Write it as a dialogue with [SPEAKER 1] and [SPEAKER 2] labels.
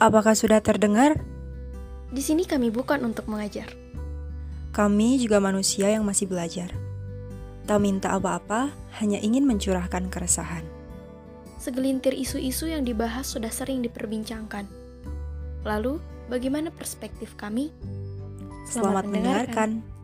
[SPEAKER 1] Apakah sudah terdengar?
[SPEAKER 2] Di sini kami bukan untuk mengajar.
[SPEAKER 1] Kami juga manusia yang masih belajar. Tak minta apa-apa, hanya ingin mencurahkan keresahan.
[SPEAKER 2] Segelintir isu-isu yang dibahas sudah sering diperbincangkan. Lalu, bagaimana perspektif kami?
[SPEAKER 1] Selamat, mendengarkan.